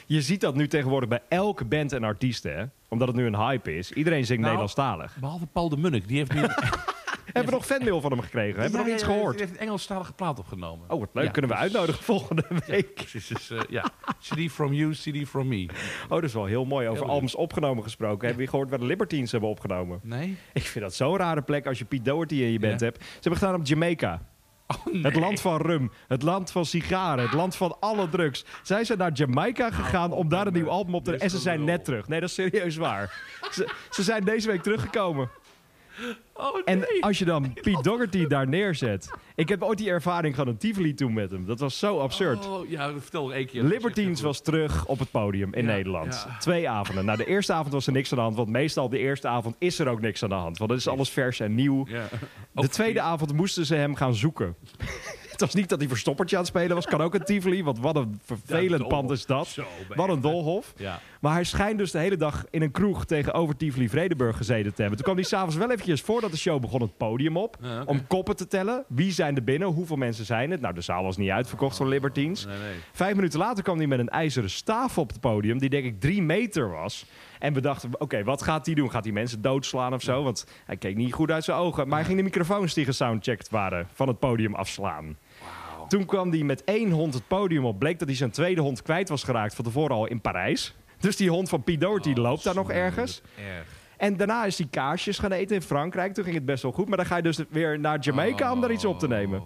Je ziet dat nu tegenwoordig bij elke band en artiest, hè? Omdat het nu een hype is. Iedereen Nou, zingt Nederlandstalig. Behalve Paul de Munnik, die heeft (laughs) nu... Hebben Hebben we nog fanmail van hem gekregen? Hebben we nog iets Die gehoord? heeft een Engelstalige plaat opgenomen. Oh, wat leuk. Ja, Kunnen we dus- uitnodigen volgende week? Precies, dus, eh, ja. CD from you, CD from me. Oh, dat is wel heel mooi. Over Heel albums opgenomen gesproken. Hebben we gehoord waar de Libertines hebben opgenomen? Nee? Ik vind dat zo'n rare plek als je Pete Doherty in je band Ja. hebt. Ze hebben gedaan op Jamaica. Oh, Het land van rum, het land van sigaren, het land van alle drugs. Zij zijn naar Jamaica gegaan om daar een nieuw album op te... Dit is En ze een zijn lul. net terug. Nee, dat is serieus waar. (laughs) ze, ze zijn deze week teruggekomen. Oh, nee. En als je dan Pete Doherty daar neerzet... Ik heb ooit die ervaring gehad in Tivoli toen met hem. Dat was zo absurd. Oh, ja, vertel er één keer. Libertines was terug op het podium in Ja, Nederland. ja. Twee avonden. Nou, de eerste avond was er niks aan de hand. Want meestal op de eerste avond is er ook niks aan de hand. Want dan is alles vers en nieuw. Ja. De tweede avond moesten ze hem gaan zoeken. (laughs) het was niet dat hij verstoppertje aan het spelen was. Kan ook een Tivoli. Want wat een vervelend dolhof. pand is dat. Zo, Wat een dolhof. Ja. Maar hij schijnt dus de hele dag in een kroeg tegenover Tivoli Vredenburg gezeten te hebben. Toen kwam hij s'avonds wel eventjes voordat de show begon het podium op. Ja, oké. Om koppen te tellen. Wie zijn er binnen? Hoeveel mensen zijn het? Nou, de zaal was niet uitverkocht voor Libertines. Nee, nee. Vijf minuten later kwam hij met een ijzeren staaf op het podium. Die denk ik drie meter was. En we dachten, oké, wat gaat hij doen? Gaat hij mensen doodslaan of zo? Want hij keek niet goed uit zijn ogen. Maar hij ging de microfoons die gesoundcheckt waren van het podium afslaan. Toen kwam hij met één hond het podium op. Bleek dat hij zijn tweede hond kwijt was geraakt van tevoren al in Parijs. Dus die hond van Pete Doherty loopt daar nog ergens. Erg. En daarna is hij kaarsjes gaan eten in Frankrijk. Toen ging het best wel goed. Maar dan ga je dus weer naar Jamaica om daar iets op te nemen.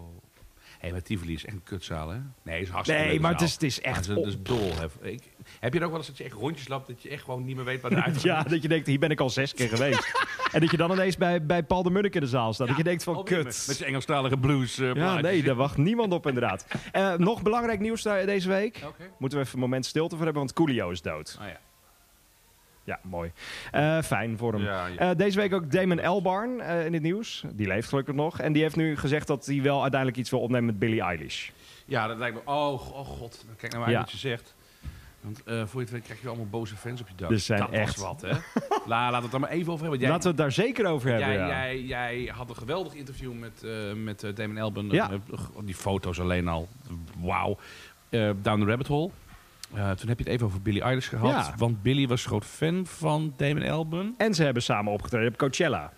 Hé, hey, maar Tivoli is echt een kutzaal, hè? Nee, is een hartstikke Nee, leuke maar het zaal. is, het is echt... Maar het is op- het is dol. Heb, ik, heb je er ook wel eens dat je echt rondjes loopt... dat je echt gewoon niet meer weet waar (laughs) de (laughs) uitgang Ja, dat je denkt, hier ben ik al zes keer geweest. (laughs) en dat je dan ineens bij, bij Paul de Munnik in de zaal staat. dat je denkt van, Alweer met- Met kut. zijn Engelstalige blues. eh, Ja, plaatjes. nee, daar wacht niemand (laughs) op inderdaad. Eh, nog belangrijk nieuws daar- deze week. Oké. Moeten we even een moment stilte voor hebben, want Coolio is dood. Ah, ja. Ja, mooi. Eh, fijn voor hem. Ja, ja. Eh, deze week ook Damon Elbarn eh, in het nieuws. Die leeft gelukkig nog. En die heeft nu gezegd dat hij wel uiteindelijk iets wil opnemen met Billie Eilish. ja, dat lijkt me. Oh, go- oh god. Kijk nou maar Ja. wat je zegt. Want eh, voor je het weet krijg je allemaal boze fans op je dak. Er zijn dat echt- was wat, hè? La, laat het dan maar even over hebben. want Jij, Laten we het daar zeker over hebben. jij, ja. jij, jij had een geweldig interview met, eh, met eh, Damon Alban. Ja. Eh, die foto's alleen al. Wauw. Eh, Down the Rabbit Hole. Eh, toen heb je het even over Billy Eilish gehad. Ja. Want Billy was groot fan van Damon Alban. En ze hebben samen opgetreden op Coachella.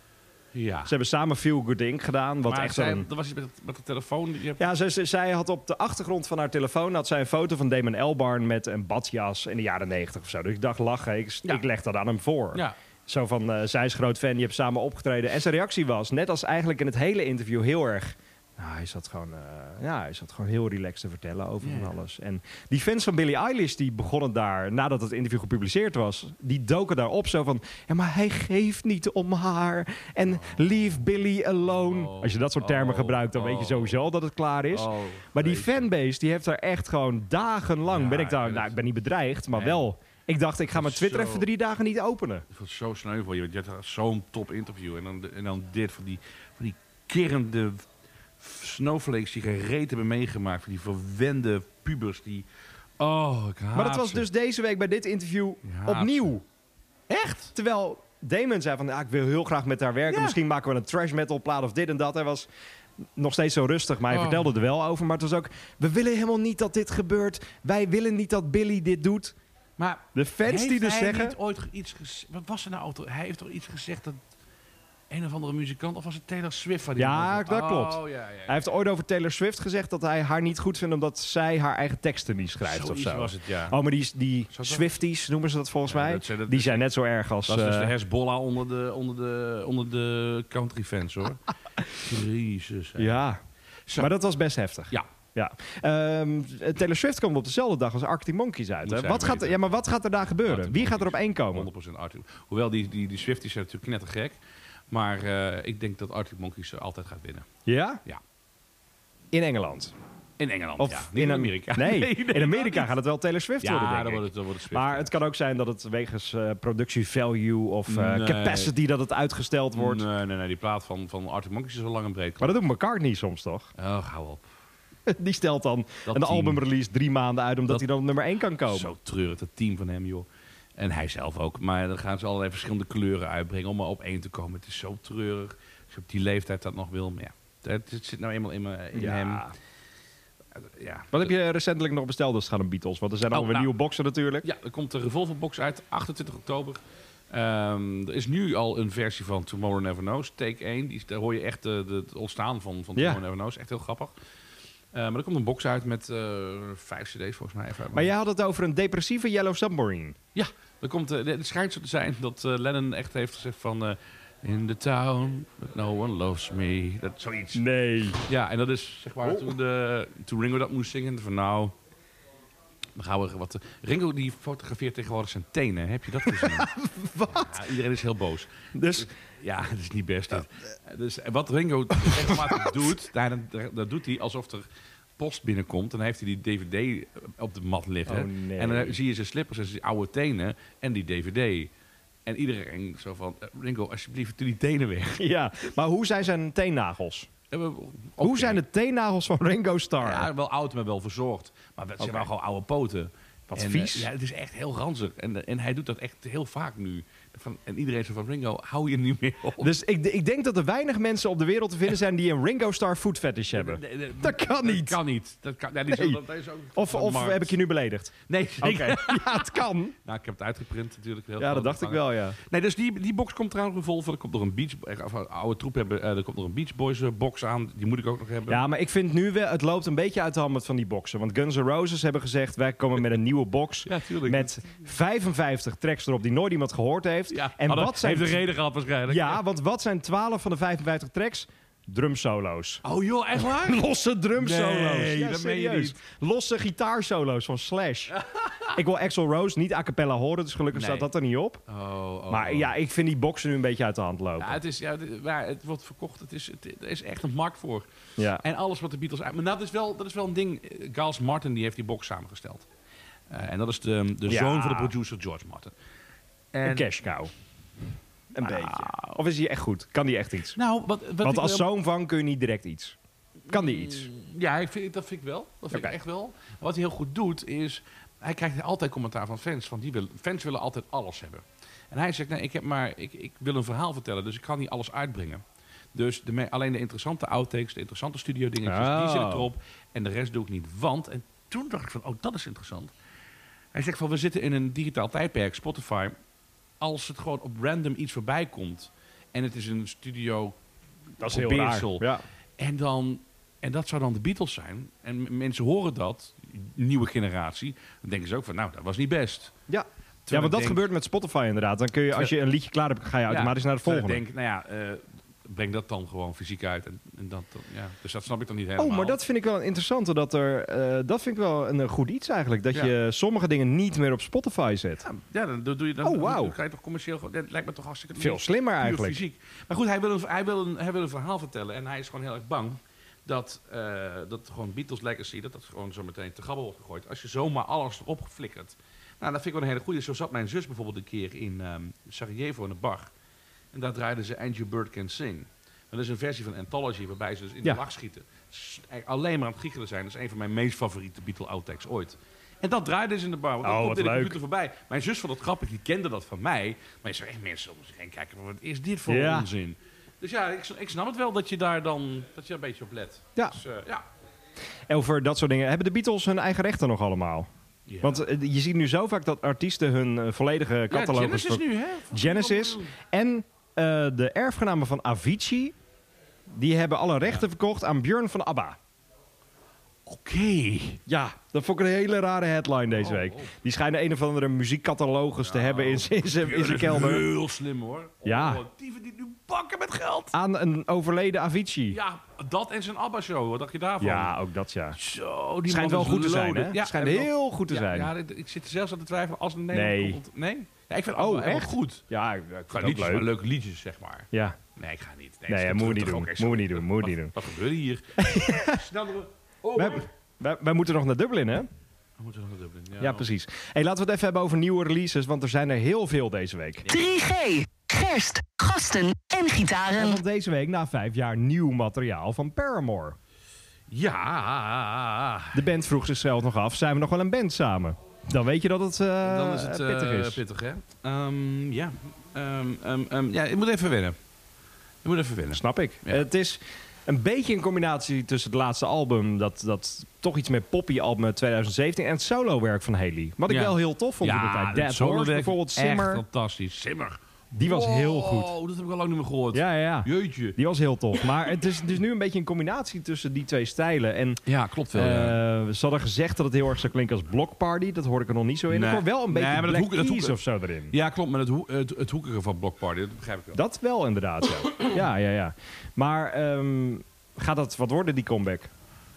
Ja. Ze hebben samen Feel Good Inc. gedaan. Wat maar echt zij, een... er was iets met, met de telefoon. Je hebt- Ja, zij, zij- zij had op de achtergrond van haar telefoon had zij een foto van Damon Elbarn met een badjas in de jaren negentig of zo. Dus ik dacht, lachen, ik, Ja. ik leg dat aan hem voor. Ja. Zo van, eh, zij is groot fan, je hebt samen opgetreden. En zijn reactie was, net als eigenlijk in het hele interview, heel erg... Nou, hij zat gewoon, eh, ja, hij zat gewoon heel relaxed te vertellen over van alles. En die fans van Billie Eilish, die begonnen daar, nadat het interview gepubliceerd was... die doken daarop zo van, ja, maar hij geeft niet om haar. En leave Billy alone. Oh. Als je dat soort termen Oh. gebruikt, dan weet je Oh. sowieso al dat het klaar is. Oh, maar die jeetje. fanbase, die heeft daar echt gewoon dagenlang... Ja, ben ik ik daar, weet nou, het. ik ben niet bedreigd, maar Nee. wel... Ik dacht, ik ga mijn Twitter Zo. even drie dagen niet openen. Ik vond het zo sneu voor je. want Je had zo'n top interview. En dan, en dan dit van die, van die kerende f- snowflakes die gereed hebben meegemaakt. Van die verwende pubers die... Oh, ik haat Maar dat was ze. dus deze week bij dit interview haat opnieuw. Echt? Terwijl Damon zei van, ja, ik wil heel graag met haar werken. Ja. Misschien maken we een trash metal plaat of dit en dat. Hij was nog steeds zo rustig, maar hij Oh. vertelde er wel over. Maar het was ook, we willen helemaal niet dat dit gebeurt. Wij willen niet dat Billy dit doet. Maar De fans die heeft dus hij zeggen... Niet ooit ge- iets gez- Wat was er nou? altijd? Hij heeft toch iets gezegd dat een of andere muzikant... Of was het Taylor Swift? Waar die Ja, over- dat klopt. Oh, ja, ja, ja. Hij heeft ooit over Taylor Swift gezegd dat hij haar niet goed vindt... omdat zij haar eigen teksten niet schrijft of Zoiets zo. was het, ja. Oh, maar die, die Zou dat- Swifties noemen ze dat volgens Ja, mij. dat zijn- dat die is- zijn net zo erg als... Dat is dus eh, de Hezbollah onder de, onder de, onder de country fans, (laughs) hoor. Jezus. hè. ja, Zo. maar dat was best heftig. ja. Ja. Ehm, Taylor Swift komt op dezelfde dag als Arctic Monkeys uit. Moet Hè? zij Wat gaat, weten. ja, maar wat gaat er daar gebeuren? Arctic Wie gaat er op één komen? 100% Arctic. Hoewel die, die, die Swifties zijn natuurlijk knettergek. Maar eh, ik denk dat Arctic Monkeys eh, altijd gaat winnen. Ja? Ja. In Engeland. In Engeland, Of ja. Niet in, in Am- Amerika. (laughs) Nee, in dat Amerika niet. gaat het wel Taylor Swift worden, Ja, denk dan ik. wordt het, dan wordt het Swift. Maar het kan ook zijn dat het wegens eh, productie value of eh, Nee. capacity dat het uitgesteld wordt. Nee, nee, nee. Die plaat van, van Arctic Monkeys is al lang en breed. Maar dat doet McCartney soms toch? (laughs) Oh, hou op. Die stelt dan Dat een team. albumrelease drie maanden uit omdat Dat- hij dan op nummer één kan komen. Zo treurig, dat team van hem, joh. En hij zelf ook. Maar dan gaan ze allerlei verschillende kleuren uitbrengen om maar op één te komen. Het is zo treurig. Als je op die leeftijd dat nog wil. Maar ja, het, het zit nou eenmaal in, me, in Ja. hem. Ja. Wat heb je recentelijk nog besteld als het gaat om Beatles? Want er zijn Oh, alweer nou. nieuwe boxen natuurlijk. Ja, er komt de Revolverbox uit, 28 oktober. Ehm, er is nu al een versie van Tomorrow Never Knows, take 1. Die, is- daar hoor je echt eh, de, het ontstaan van, van Ja. Tomorrow Never Knows. Echt heel grappig. Eh, maar er komt een box uit met eh, vijf cd's volgens mij. Even uit mijn Maar jij had het over een depressieve Yellow Submarine. ja, er komt, eh, het schijnt zo te zijn dat eh, Lennon echt heeft gezegd van... eh, in the town, but no one loves me. Dat, zoiets. Nee. Ja, en dat is zeg Oh. maar toen, de, toen Ringo dat moest zingen. Van nou, dan gaan we wat... Ringo die fotografeert tegenwoordig zijn tenen. Heb je dat (laughs) gezien? wat? iedereen is heel boos. Dus Ja, dat is niet best. dit. Dus wat Ringo regelmatig (laughs) doet, daar, daar- dat doet hij alsof er post binnenkomt. Dan heeft hij die dvd eh, op de mat liggen. Oh, nee. En dan zie je zijn slippers en zijn oude tenen en die dvd. En iedereen zo van, eh, Ringo, alsjeblieft, doe die tenen weg. (laughs) ja, maar hoe zijn zijn teennagels? En we- Hoe oké. zijn de teennagels van Ringo Starr? Ja, wel oud, maar wel verzorgd. Maar het zijn wel gewoon oude poten. Wat en, vies. eh, ja, het is echt heel ranzig. En, eh, en hij doet dat echt heel vaak nu. Van, en iedereen zo van, Ringo, hou je nu mee op. Dus ik, ik denk dat er weinig mensen op de wereld te vinden zijn die een Ringo Starr food fetish hebben. Nee, nee, Dat kan niet. Dat kan niet. Dat kan, ja, die is Nee. ook- dat is ook Of, van of Markt. heb ik je nu beledigd? Nee, Oké, zeker. (laughs) ja, het kan. Nou, ik heb het uitgeprint natuurlijk. Heel Ja, groot dat dacht ik ontvangen. wel, ja. Nee, dus die, die box komt trouwens weer vol. voor. Er komt nog een Beach... eh, Of, oude troep hebben. eh, er komt nog een Beach Boys eh, box aan. Die moet ik ook nog hebben. Ja, maar ik vind nu wel, het loopt een beetje uit de hand met van die boxen. Want Guns N' Roses hebben gezegd, wij komen met een nieuwe (laughs) box. Ja, tuurlijk. met 55 tracks erop die nooit iemand gehoord heeft. Ja, en hadden- wat zijn, Heeft een reden gehad waarschijnlijk. ja, want wat zijn 12 van de 55 tracks? Drumsolo's. Oh joh, echt waar? (laughs) Losse drumsolo's. Nee, ja, dat meen je serieus. Losse gitaarsolo's van (laughs) Slash. ik wil Axel Rose niet a cappella horen, dus gelukkig Nee. staat dat er niet op. Oh, oh, Maar oh. ja, ik vind die boxen nu een beetje uit de hand lopen. Ja, het, is, ja, het, maar het wordt verkocht. Het is, het, er is echt een markt voor. Ja. En alles wat de Beatles... uit- Maar dat is wel, dat is wel een ding. Eh, Giles Martin die heeft die box samengesteld. Eh, en dat is de, de Ja. zoon van de producer George Martin. En, Een cash cow. Een beetje. Of is die echt goed? Kan die echt iets? Nou, wat, wat Want ik als wel- zoon van kun je niet direct iets. Kan die iets? Ja, ik vind, dat vind ik wel. Dat vind Oké. ik echt wel. Wat hij heel goed doet is... hij krijgt altijd commentaar van fans. Want die willen, fans willen altijd alles hebben. En hij zegt, nee, ik, heb maar, ik, ik wil een verhaal vertellen, dus ik kan niet alles uitbrengen. Dus de, me- alleen de interessante outtakes, de interessante studio dingetjes, die Oh. zit erop. En de rest doe ik niet, want... En toen dacht ik van, oh, dat is interessant. Hij zegt van, we zitten in een digitaal tijdperk, Spotify. Als het gewoon op random iets voorbij komt... en het is een studio Dat is op heel Beersel. raar. Ja. en dan, en dat zou dan de Beatles zijn. En m- mensen horen dat, nieuwe generatie. Dan denken ze ook van, nou, dat was niet best. Ja. ja, ik want dat denk- gebeurt met Spotify inderdaad. Dan kun je, als je een liedje klaar hebt, ga je automatisch naar het terwijl volgende. Ik denk, nou ja, eh, breng dat dan gewoon fysiek uit. En, en dat, dan- ja. Dus dat snap ik dan niet helemaal. Oh, maar dat vind ik wel interessant. Dat, er, eh, dat vind ik wel een eh, goed iets eigenlijk. Dat Ja. je sommige dingen niet meer op Spotify zet. Ja, ja, dan doe doe je dan. Oh, wauw. Dan kan je toch commercieel. gewoon- Dat lijkt me toch hartstikke. Veel slimmer puur eigenlijk. Fysiek. Maar goed, hij wil, een, hij, wil een, hij wil een verhaal vertellen. En hij is gewoon heel erg bang dat, eh, dat gewoon Beatles Legacy. dat dat gewoon zo meteen te grabbel wordt gegooid. Als je zomaar alles erop flikkert. Nou, dat vind ik wel een hele goede. Zo zat mijn zus bijvoorbeeld een keer in ehm, Sarajevo in de bar. En daar draaiden ze And Your Bird Can Sing. Dat is een versie van Anthology waarbij ze dus in Ja. de lach schieten. S- eigenlijk Alleen maar aan het giechelen zijn. Dat is een van mijn meest favoriete Beatle outtakes ooit. En dat draaiden ze in de bar. Want Oh, dat komt wat in de leuk. computer voorbij. Mijn zus vond dat grappig. Die kende dat van mij. Maar je zou echt mensen om zich heen kijken. Wat is dit voor Ja. onzin? Dus ja, ik, s- ik snap het wel dat je daar dan dat je daar een beetje op let. Ja. Dus, eh, ja. En Over dat soort dingen. Hebben de Beatles hun eigen rechten nog allemaal? Ja. Want eh, je ziet nu zo vaak dat artiesten hun eh, volledige ja, catalogus... Genesis ver- nu, hè? Genesis. En eh, de erfgenamen van Avicii... die hebben alle rechten verkocht aan Björn van ABBA. Oké. Ja, dat vond ik een hele rare headline deze Oh, week. oh. Die schijnen een of andere muziekcatalogus te hebben in zijn- in zijn in Dat zijn is kelder. heel slim, hoor. Ja. Oh, dieven die nu bakken met geld. Aan een overleden Avicii. Ja, dat en zijn ABBA-show. Wat dacht je daarvan? Ja, ook dat ja. Zo, die Schijnt man wel is goed te zijn, loaded. hè? Ja, Schijnt en wel- heel goed te ja, zijn. Ja, dit- ik zit er zelfs aan te twijfelen als een Nederlander Nee. komt. Nee? Ja, ik vind Oh, oh, echt echt? goed. Ja, ik, ik vind Qua het ook liedjes, leuk. maar leuke liedjes, zeg maar. Ja. Nee, ik ga niet. Nee, dat moeten we doet niet toch doen. ook echt zo- Moeten we niet doen, moeten we Wat- niet Wat gebeurde (laughs) hier? Sneller. Oh, We we hebben- Wij, wij moeten nog naar Dublin, hè? Ja, Oh, moeten nog naar Dublin. Ja, precies. hey, laten we het even hebben over nieuwe releases, want er zijn er heel veel deze week. 3G. Gerst, gasten en En gitaren. nog deze week, na vijf jaar, nieuw materiaal van Paramore. Ja. De band vroeg zichzelf nog af, zijn we nog wel een band samen? Dan weet je dat het, eh, Dan is het eh, pittig is. pittig, hè? Ehm, ja. Ehm, ehm, ehm, ja, ik moet even wennen. Ik moet even wennen. Snap ik. Ja. Het is een beetje een combinatie tussen het laatste album, dat, dat toch iets meer poppy album uit 2017, en het solowerk van Haley. Wat ik Ja. wel heel tof vond in de tijd. dat Dead Horse solowerk, bijvoorbeeld, echt Simmer. fantastisch. Simmer. Die was heel goed. Oh, dat heb ik al lang niet meer gehoord. Ja, ja, ja. Jeetje. Die was heel tof. Maar het is, het is nu een beetje een combinatie tussen die twee stijlen. En Ja, klopt wel. ja. eh, ze hadden gezegd dat het heel erg zou klinken als Block Party. Dat hoorde ik er nog niet zo in. Nee. Ik hoor wel Nee, een beetje maar dat Black hoeken- dat Keys hoeken- of zo erin. Ja, klopt. Maar het, hoe- het, het hoekige van Block Party, dat begrijp ik wel. Dat wel inderdaad, ja. ja, ja, ja. Maar ehm, gaat dat wat worden, die comeback?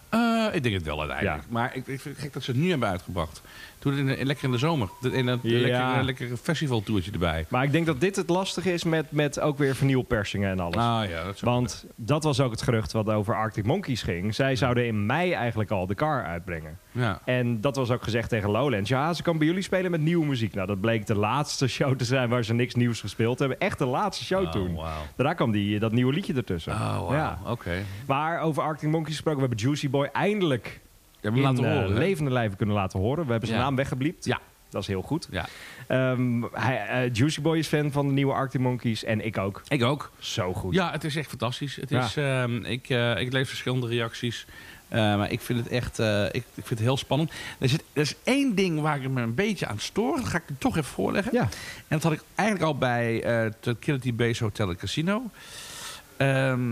Eh, ik denk het wel uiteindelijk. Ja. Maar ik, ik vind het gek dat ze het nu hebben uitgebracht. Toen in de, lekker in de zomer. De, in een Ja. lekker, lekker festivaltoertje erbij. Maar ik denk dat dit het lastige is met, met ook weer vernieuwpersingen en alles. Ah ja, dat is Want dat was ook het gerucht wat over Arctic Monkeys ging. Zij zouden in mei eigenlijk al de car uitbrengen. Ja. En dat was ook gezegd tegen Lowlands. Ja, ze kan bij jullie spelen met nieuwe muziek. Nou, dat bleek de laatste show te zijn waar ze niks nieuws gespeeld hebben. Echt de laatste show Oh, toen. wauw. Daarna kwam die, dat nieuwe liedje ertussen. Oh, wauw. ja. Oké. Maar over Arctic Monkeys gesproken, we hebben Juicy Boy eindelijk Ja, in maar laten eh, horen. hè? levende lijven kunnen laten horen. We hebben zijn Ja. naam weggebliept. Ja. Dat is heel goed. Ja. Ehm, hij, eh, Juicy Boy is fan van de nieuwe Arctic Monkeys en ik ook. Ik ook. Zo goed. Ja, het is echt fantastisch. Het Ja. is, ehm, ik, eh, ik lees verschillende reacties. Eh, maar ik vind het echt eh, ik, ik vind het heel spannend. Er, zit, er is één ding waar ik me een beetje aan stoor. Dat ga ik je toch even voorleggen. Ja. En dat had ik eigenlijk al bij eh Tranquility Base Hotel en Casino. Ehm,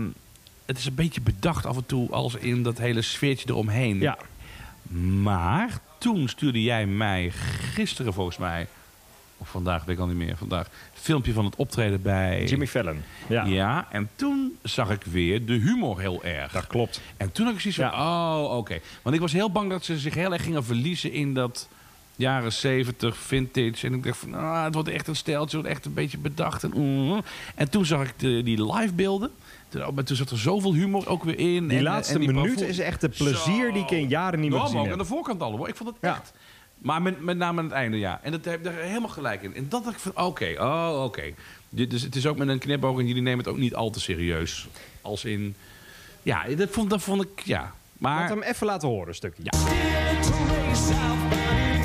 het is een beetje bedacht af en toe als in dat hele sfeertje eromheen. Ja. Maar toen stuurde jij mij gisteren volgens mij... of vandaag, weet ik al niet meer, vandaag... een filmpje van het optreden bij... Jimmy Fallon. Ja. Ja. en toen zag ik weer de humor heel erg. Dat klopt. En toen had ik zoiets van, oh, oké. Want ik was heel bang dat ze zich heel erg gingen verliezen in dat jaren 70 vintage. En ik dacht van, ah, het wordt echt een steltje, het wordt echt een beetje bedacht. En, mm. en toen zag ik de, die live beelden. Toen, oh, maar toen zat er zoveel humor ook weer in. Die en, laatste en die minuut bravoure. is echt de plezier Zo. die ik in jaren niet Ja, meer maar gezien ook aan heb. de voorkant al hoor. Ik vond het Ja. echt. Maar met, met name aan het einde, ja. En dat heb ik daar helemaal gelijk in. En dat dacht ik van, oké, oh, oké. Dit Dus het is ook met een knipoog en jullie nemen het ook niet al te serieus. Als in, ja, dat vond, dat vond ik, ja. Maar, Laat hem even laten horen, een stukje. Ja. Did to race out anything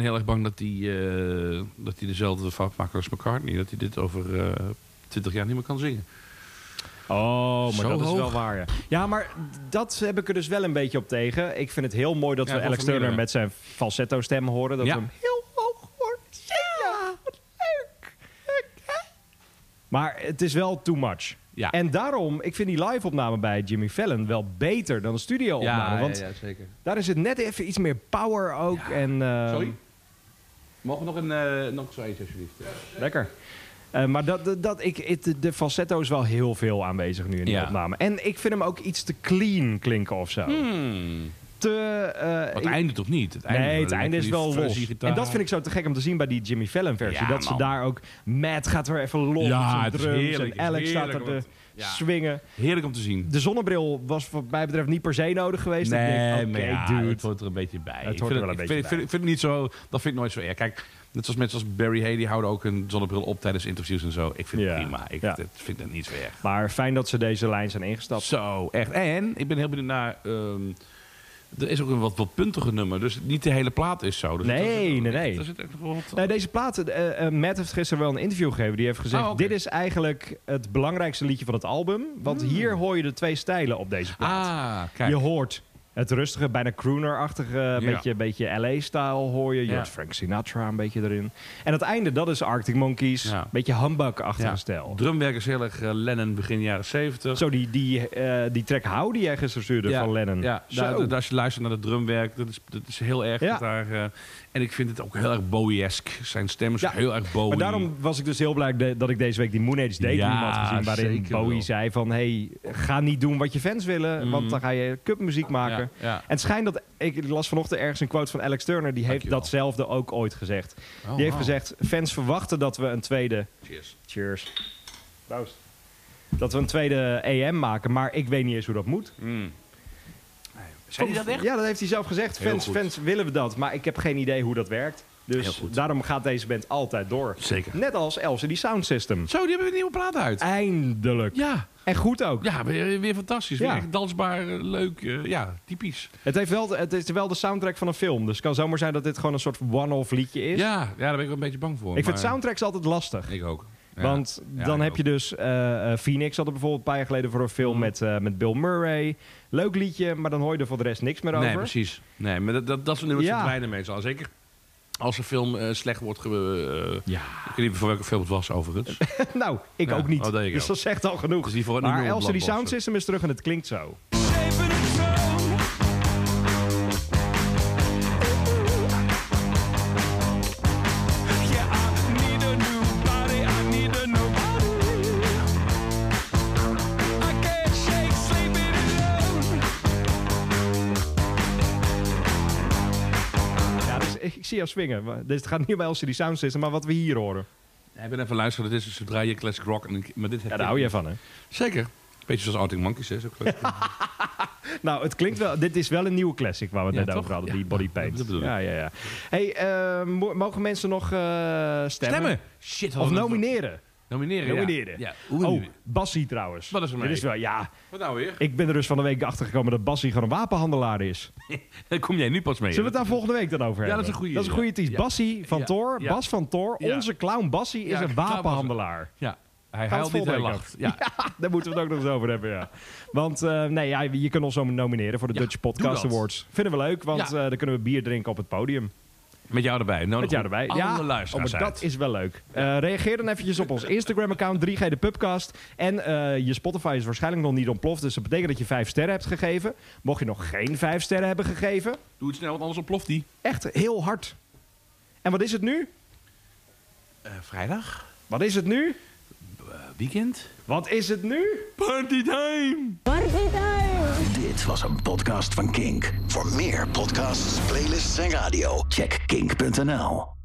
heel erg bang dat hij, eh, dat hij dezelfde fout maakt als McCartney. Dat hij dit over eh 20 jaar niet meer kan zingen. Oh, maar Zo dat is hoog? wel waar. Ja. ja, maar dat heb ik er dus wel een beetje op tegen. Ik vind het heel mooi dat Ja, we van Alex Vermeer, Turner ja. met zijn falsetto stem horen. Dat Ja. we hem heel hoog horen. Ja, wat leuk. Leuk, hè? Maar het is wel too much. Ja. En daarom, ik vind die live-opname bij Jimmy Fallon wel beter dan de studio-opname. want zeker. daar is het net even iets meer power ook. En, eh, Sorry? Mogen we nog, een, eh, nog zo eentje, alsjeblieft? Lekker. Eh, maar dat, dat, dat- ik, het- de falsetto is wel heel veel aanwezig nu in die Ja. opname. En ik vind hem ook iets te clean klinken of zo. Te, eh, Maar ik- het Hmm. einde toch niet? Het nee, het eh, einde is die wel fuzzy los. gitaar. En dat vind ik zo te gek om te zien bij die Jimmy Fallon versie. Ja, dat ze man. daar ook... Matt gaat er even los Ja, op zijn het is drums. heerlijk, en het is Alex staat er heerlijk, te want- ja. swingen. Heerlijk om te zien. De zonnebril was wat mij betreft niet per se nodig geweest. ik denk, oké, dude. het hoort er een beetje bij. hoort Ik er vind wel een ik beetje vind, bij. Vind, vind het niet zo, dat vind ik nooit zo erg. Kijk, net zoals mensen als Barry Hay, die houden ook een zonnebril op tijdens interviews en zo. Ik vind Ja. het prima. Ik Ja. het- vind het niet zo erg. Maar fijn dat ze deze lijn zijn ingestapt. Zo, echt. En ik ben heel benieuwd naar... ehm, er is ook een wat, wat puntiger nummer, dus niet de hele plaat is zo. Dus Nee, er zit- nee, nee. Er zit echt nog wel wat- Nee, deze plaat, eh, eh, Matt heeft gisteren wel een interview gegeven. Die heeft gezegd, Oh, oké. dit is eigenlijk het belangrijkste liedje van het album. Want hier hoor je de twee stijlen op deze plaat. Hmm. Ah, kijk. Je hoort het rustige, bijna crooner-achtige, beetje, beetje LA-stijl hoor je. Je Ja. hoort Frank Sinatra een beetje erin. En het einde, dat is Arctic Monkeys. Ja. Beetje humbug-achtige Ja. stijl. Drumwerk is heel erg eh, Lennon begin jaren 70. Zo, die, die, eh, die track How die jij gisteren stuurde Ja, van Lennon. Ja, Zo. daar- daar- als je luistert naar het drumwerk, dat is, dat is heel erg. Ja. dat Daar, eh, en ik vind het ook heel erg Bowie-esk. Zijn stem is Ja, heel erg Bowie. Maar daarom was ik dus heel blij de- dat ik deze week die Moon Age Daydream Ja, had gezien. Waarin zeker Bowie wel. Mhm. zei van, hey, ga niet doen wat je fans willen. Want dan ga je cupmuziek maken. Ja, ja. En het schijnt dat, ik las vanochtend ergens een quote van Alex Turner. Die heeft Dankjewel. datzelfde ook ooit gezegd. Oh, die heeft wauw. gezegd, fans verwachten dat we een tweede... Cheers. Cheers. Dat we een tweede EM maken. Maar ik weet niet eens hoe dat moet. Zei hij dat echt? Ja, dat heeft hij zelf gezegd. Heel Fans, goed. fans willen we dat. Maar ik heb geen idee hoe dat werkt. Heel Dus goed. daarom gaat deze band altijd door. Zeker. Net als LCD Sound System. Zo, die hebben een nieuwe plaat uit. Eindelijk. Ja, En goed ook. ja weer, weer fantastisch. Ja. Weer echt dansbaar, eh, leuk. eh, ja, typisch. Het, heeft wel, het is wel de soundtrack van een film. Dus het kan zomaar zijn dat dit gewoon een soort one-off liedje is. Ja, ja, daar ben ik wel een beetje bang voor. ik vind maar- soundtracks altijd lastig. Ik ook. Ja. Want Ja, dan ik heb ook. Mm. je dus eh, eh, Phoenix had er bijvoorbeeld een paar jaar geleden voor een film met, eh, met Bill Murray. Leuk liedje, maar dan hoor je er voor de rest niks meer Nee, over. precies. Nee, maar dat, dat, dat soort nummers Ja. zijn kleine mensen al. Zeker als een film eh, slecht wordt... Ge, eh, Ja. Ik weet niet voor welke film het was, overigens. (laughs) nou, ik Ja, ook niet. oh, dat ik dus ook. dat zegt al genoeg. Dus die voor- nu maar nul op LCD Sound Blockbuster. System is terug en het klinkt zo. Ja, dus ik, ik zie jou swingen. Maar- Dus het gaat niet om LCD Sound System, maar wat we hier horen. Ja, ik ben even luisteren. Dit is dus zodra je classic rock... En, ik- maar dit Ja, daar hou jij van, hè? Zeker. Beetje zoals Arctic Monkeys, hè? Zo (laughs) classic rock. Nou, het klinkt wel. Dit is wel een nieuwe classic waar we het Ja, net toch? over hadden, Ja, die body ja, paint. dat bedoel ik. ja, ja, ja. Hey, eh, mo- mogen mensen nog eh, stemmen? Stemmen! Oh, Shit, Of hadden we- nomineren? Nomineren, ja. Nomineren. Ja. Oh, Bassie trouwens. Wat is er mee? Dit is wel, ja. Wat nou weer? Ik ben er dus van de week achter gekomen dat Bassie gewoon een wapenhandelaar is. Daar kom jij nu pas mee. Zullen we het daar volgende week dan over hebben? Ja, dat is een goeie, Dat is een ja. goede tease. Ja. Bassie van Ja. Tor, Ja. Bas van Tor, Ja. onze clown Bassie is Ja, een clown Bassie. (laughs) wapenhandelaar. Ja. Hij Gaat huilt niet, hij volgende week lacht. Ja. Daar moeten we het ook nog eens over hebben, ja. Want eh, nee, ja, je kunt ons zo nomineren voor de Ja, Dutch doe Podcast dat. Awards. Vinden we leuk, want Ja. eh, dan kunnen we bier drinken op het podium. Met jou erbij. Nodig Met jou erbij. Alle ja, oh, luisteraars maar uit. dat is wel leuk. Eh, reageer dan eventjes op ons Instagram-account 3G de Pubcast. En eh, je Spotify is waarschijnlijk nog niet ontploft. Dus dat betekent dat je vijf sterren hebt gegeven. Mocht je nog geen vijf sterren hebben gegeven, Doe het snel, want anders ontploft die. echt heel hard. En wat is het nu? Eh, vrijdag? eh, Wat is het nu? weekend? Wat is het nu? Party time! Dit was een podcast van Kink. Voor meer podcasts, playlists en radio, check kink.nl.